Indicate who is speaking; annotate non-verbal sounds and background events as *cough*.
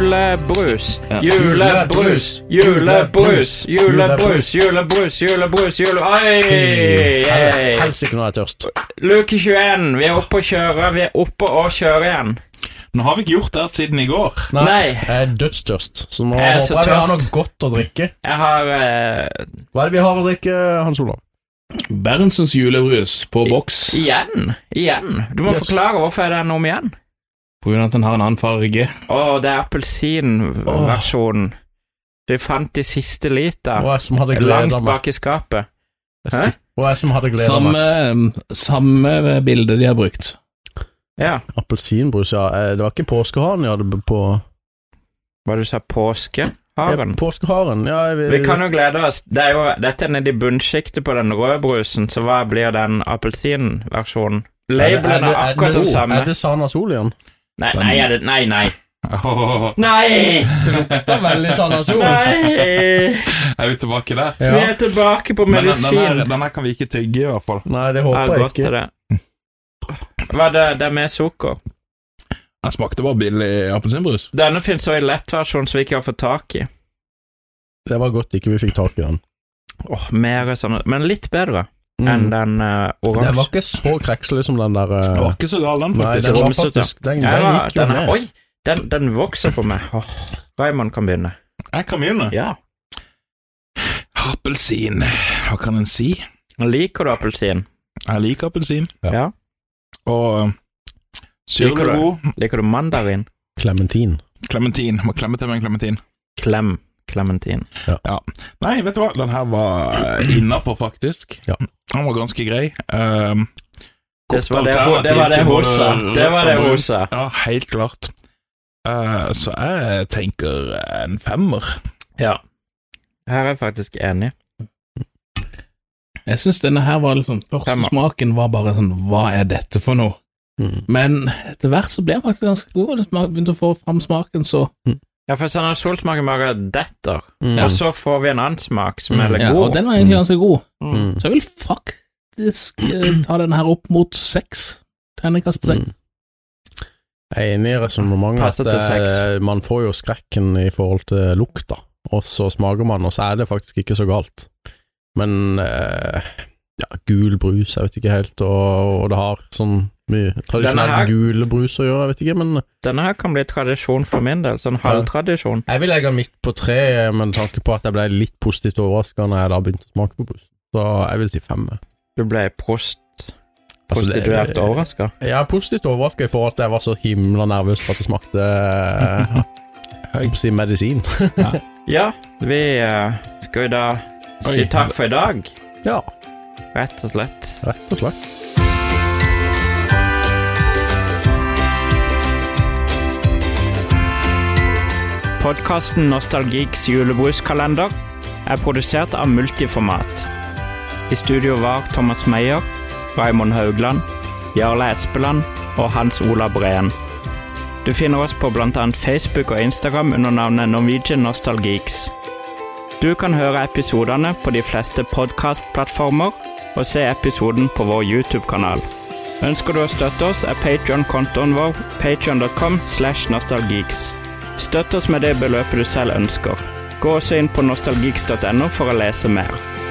Speaker 1: julebrus. Julebrus, julebrus, julebrus, julebrus, julebrus, jule... Oi!
Speaker 2: Hel-
Speaker 1: Yeah.
Speaker 2: Helsike, nå er jeg tørst.
Speaker 1: Luke 21, vi er oppe å kjøre. Vi er oppe å kjøre igjen.
Speaker 3: Nå har vi ikke gjort det siden i går.
Speaker 1: Nei.
Speaker 2: Jeg er dødstørst, så nå
Speaker 1: Jeg er så
Speaker 2: håper jeg vi har
Speaker 1: tørst.
Speaker 2: noe godt å drikke.
Speaker 1: Jeg har eh,
Speaker 2: Hva er det vi har å drikke, Hans Olav?
Speaker 3: Berentsens julebrus på boks
Speaker 1: Igjen. Igjen. Du må
Speaker 2: Yes.
Speaker 1: forklare hvorfor er den om igjen.
Speaker 3: på grunn av at den har en annen farge.
Speaker 1: Å, det er appelsinversjonen. Vi fant de siste
Speaker 2: Og
Speaker 1: liter.
Speaker 2: jeg som hadde gleda
Speaker 1: Langt
Speaker 2: meg.
Speaker 1: bak i skapet. Hæ?
Speaker 2: Og jeg som hadde gleda meg.
Speaker 3: Samme, eh, samme bilde de har brukt.
Speaker 1: Ja.
Speaker 2: Appelsinbrus, ja. Eh, Det var ikke påskeharen jeg hadde b- på
Speaker 1: Hva du sa
Speaker 2: Ja,
Speaker 1: påskeharen?
Speaker 2: Påskeharen, ja. Jeg,
Speaker 1: Vi kan jo glede oss. Det er jo, dette er nede i bunnsjiktet på den røde brusen, så hva blir den appelsinversjonen? Labelen er akkurat den samme.
Speaker 2: Er det Sana Sol
Speaker 1: *laughs*
Speaker 2: igjen?
Speaker 1: Nei, nei, er det, nei, nei.
Speaker 3: Åh,
Speaker 1: Nei!
Speaker 2: Det er veldig Sana Sol.
Speaker 1: Nei!
Speaker 3: er vi tilbake der?
Speaker 1: Vi
Speaker 2: Ja.
Speaker 1: er tilbake på
Speaker 3: Men den, den, her,
Speaker 1: medisin.
Speaker 3: den her kan vi ikke tygge, i hvert fall.
Speaker 2: Nei, det
Speaker 1: Jeg
Speaker 2: håper
Speaker 1: har
Speaker 2: jeg
Speaker 1: gått til
Speaker 2: ikke.
Speaker 1: det. Hva er det, det er med sukker?
Speaker 3: Den smakte bare billig appelsinbrus.
Speaker 1: Denne finnes også i lettversjon som vi ikke har fått tak i.
Speaker 2: Det var godt ikke vi fikk tak i den.
Speaker 1: Åh, mer sånn, men litt bedre enn
Speaker 2: Mm.
Speaker 1: den eh,
Speaker 2: Den var
Speaker 1: oransje.
Speaker 2: ikke så krekselig som den der eh,
Speaker 3: Den var ikke så gal, den,
Speaker 2: Nei,
Speaker 3: faktisk.
Speaker 2: den var
Speaker 1: Romsete.
Speaker 2: faktisk Den,
Speaker 1: Ja,
Speaker 2: den gikk jo
Speaker 1: den er-
Speaker 2: ned.
Speaker 1: Oi, den, den vokser på meg. Åh, Raymond kan begynne.
Speaker 3: Jeg kan begynne.
Speaker 1: Ja.
Speaker 3: eh? Appelsin. Hva kan en si?
Speaker 1: Liker du appelsin?
Speaker 3: Jeg liker appelsin.
Speaker 2: Ja.
Speaker 1: Ja.
Speaker 3: Og eh,
Speaker 1: Liker
Speaker 3: syren
Speaker 1: du
Speaker 3: er
Speaker 1: det?
Speaker 3: god.
Speaker 1: Liker du mandarin?
Speaker 2: Klementin.
Speaker 3: Klementin. Må klemme til med en klementin.
Speaker 1: Klem. Clementin.
Speaker 3: Nei, vet du hva? Den her var innafor, faktisk.
Speaker 2: Ja.
Speaker 3: Den var ganske grei. Ehm,
Speaker 1: Det
Speaker 3: godt
Speaker 1: var det, hun- det
Speaker 3: alternativ
Speaker 1: var det
Speaker 3: til
Speaker 1: hun
Speaker 3: både
Speaker 1: sa. Det
Speaker 3: rødt
Speaker 1: var
Speaker 3: og
Speaker 1: det hun
Speaker 3: brunt.
Speaker 1: sa.
Speaker 3: Ja, helt klart. Eh, så jeg tenker en femmer.
Speaker 1: Ja. Her er jeg faktisk enig.
Speaker 3: Jeg syns denne her var liksom Første
Speaker 1: Femmer.
Speaker 3: smaken var bare sånn Hva er dette for noe?
Speaker 2: Mm.
Speaker 3: Men etter hvert så ble den faktisk ganske god. og det smak- Begynte å få fram smaken, så
Speaker 1: Ja, for sånn at solsmaken bare detter,
Speaker 2: Mm.
Speaker 1: og så får vi en annen smak som er
Speaker 2: Mm,
Speaker 1: litt
Speaker 3: ja, Og
Speaker 1: god.
Speaker 3: den var egentlig ganske god.
Speaker 1: Mm.
Speaker 2: Mm.
Speaker 3: Så jeg vil faktisk eh, ta den her opp mot seks. Terningkast seks.
Speaker 2: Mm. Jeg er enig i resonnementet
Speaker 1: Passer
Speaker 2: at
Speaker 1: til
Speaker 2: eh,
Speaker 1: sex.
Speaker 2: man får jo skrekken i forhold til lukta, og så smaker man, og så er det faktisk ikke så galt. Men eh, ja, gul brus, jeg vet ikke helt, og, og det har sånn mye
Speaker 1: Denne her-
Speaker 2: tradisjonell gule brus å gjøre, jeg vet ikke, men
Speaker 1: Denne her kan bli tradisjon for min del. Sånn halvtradisjon.
Speaker 2: Jeg vil legge midt på tre, eh, med tanke på at jeg ble litt positivt overraska når jeg da begynte å smake på brusen. Så jeg vil si fem.
Speaker 1: Du ble prost,
Speaker 2: Altså, det-
Speaker 1: prostituert overraska.
Speaker 2: Jeg er positivt overraska i forhold til at jeg var så himla nervøs for at det smakte eh, jeg holdt på å si medisin.
Speaker 1: Ja, vi eh, skal jo da si
Speaker 3: Oi.
Speaker 1: takk for i dag,
Speaker 2: Ja,
Speaker 1: rett og slett.
Speaker 2: rett og slett.
Speaker 1: Podkasten Nostalgiks julebruskalender er produsert av Multiformat. I studio var Thomas Meyer, Raymond Haugland, Jarle Espeland og Hans Ola Breen. Du finner oss på bl.a. Facebook og Instagram under navnet Norwegian Nostalgiks. Du kan høre episodene på de fleste podkastplattformer og se episoden på vår YouTube-kanal. Ønsker du å støtte oss, er Patreon-kontoen vår patreon.com slash nostalgiks. Støtt oss med det beløpet du selv ønsker. Gå også inn på nostalgiks.no for å lese mer.